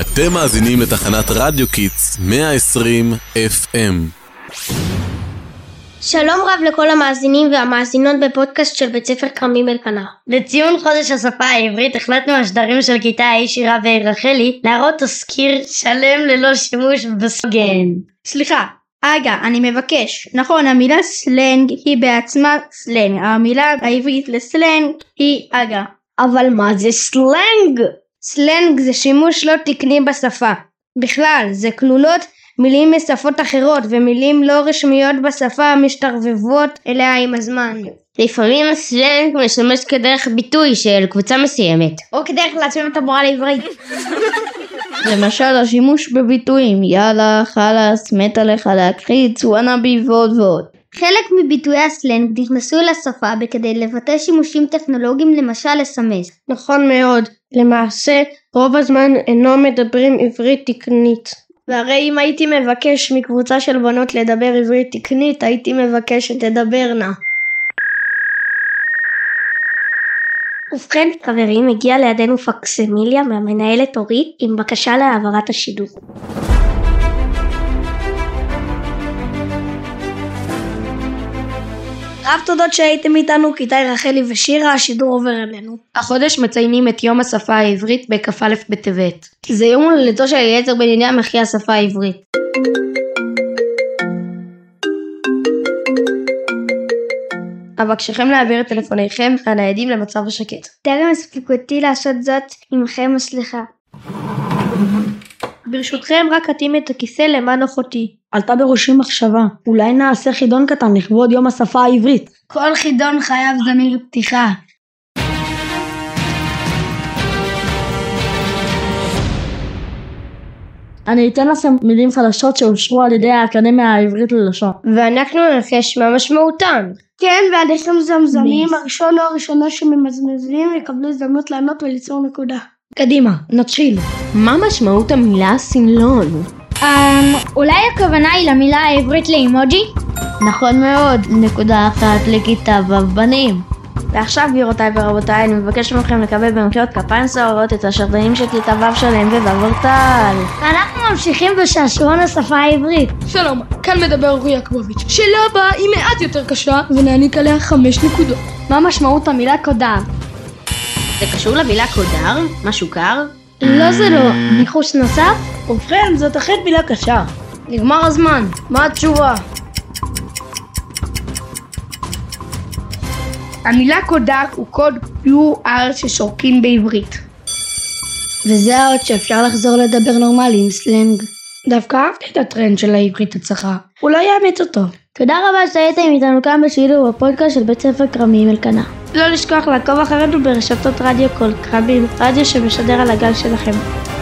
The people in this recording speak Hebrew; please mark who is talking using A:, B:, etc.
A: אתם מאזינים לתחנת רדיו קיטס 120 FM.
B: שלום רב לכל המאזינים והמאזינות בפודקאסט של בית ספר כרמים אלפנר.
C: לציון חודש השפה העברית החלטנו השדרים של כיתה ה' שירה ורחלי להראות תסקיר שלם ללא שימוש בסוגן.
D: סליחה, אגה, אני מבקש. נכון, המילה סלנג היא בעצמה סלנג. המילה העברית לסלנג היא אגה.
C: אבל מה זה סלנג?
D: סלנג זה שימוש לא תקני בשפה. בכלל, זה כלולות מילים משפות אחרות ומילים לא רשמיות בשפה המשתרבבות אליה עם הזמן.
E: לפעמים הסלנג משמש כדרך ביטוי של קבוצה מסוימת.
B: או כדרך להצביע את המורה לעברית.
F: למשל השימוש בביטויים יאללה, חלאס, מתה לך להקחיץ, וואנאבי ועוד ועוד.
B: חלק מביטויי הסלנג נכנסו אל השפה בכדי לבטא שימושים טכנולוגיים למשל אס.אם.אס.
D: נכון מאוד. למעשה, רוב הזמן אינו מדברים עברית תקנית. והרי אם הייתי מבקש מקבוצה של בנות לדבר עברית תקנית, הייתי מבקש שתדברנה.
B: ובכן חברים, הגיעה לידינו פקסמיליה מהמנהלת אורית עם בקשה להעברת השידור.
D: רב תודות שהייתם איתנו, כיתאי רחלי ושירה, השידור עובר אלינו.
C: החודש מציינים את יום השפה העברית בכ"א בטבת.
D: זה יום הולדתו של אליעזר בן עניין מחי השפה העברית. אבקשכם להעביר את טלפוניכם הניידים למצב השקט.
B: טרם הספיקותי לעשות זאת עמכם הסליחה.
D: ברשותכם רק אתאים את הכיסא למען אחותי.
G: עלתה בראשי מחשבה, אולי נעשה חידון קטן לכבוד יום השפה העברית.
C: כל חידון חייב זמיר פתיחה.
G: אני אתן לכם מילים חדשות שאושרו על ידי האקדמיה העברית ללשון.
D: ואנחנו ננחש מה משמעותן.
H: כן, ואנשים זמזמים, הראשון או הראשונה שממזמזים יקבלו הזדמנות לענות וליצור נקודה.
G: קדימה, נתחיל.
E: מה משמעות המילה סמלון?
F: אמ,
B: אולי הכוונה היא למילה העברית לאימוג'י?
F: נכון מאוד, נקודה אחת לכיתה ו' בנים.
G: ועכשיו גבירותיי ורבותיי, אני מבקש מכם לקבל במחיאות כפיים סוערות את השרדנים של כיתה ו' שלהם בו' אורטל.
B: אנחנו ממשיכים בשעשועון השפה העברית.
I: שלום, כאן מדבר אורי יעקבוביץ'. שאלה הבאה היא מעט יותר קשה, ונעניק עליה חמש נקודות.
D: מה משמעות המילה קודם?
E: זה קשור למילה קודר? משהו קר?
F: אמ.
B: לא זה לא, ניחוש נוסף?
G: ובכן, זאת אכן מילה קשה.
C: נגמר הזמן.
G: מה התשובה?
I: המילה קודק הוא קוד QR ששורקים בעברית.
G: וזה האות שאפשר לחזור לדבר נורמלי עם סלנג. דווקא אהבתי את הטרנד של העברית הצחה. אולי יאמץ אותו.
F: תודה רבה שהייתם איתנו כאן בשידור בפודקאסט של בית ספר כרמים אלקנה.
D: לא לשכוח לעקוב אחרינו ברשתות רדיו כל כרמים, רדיו שמשדר על הגל שלכם.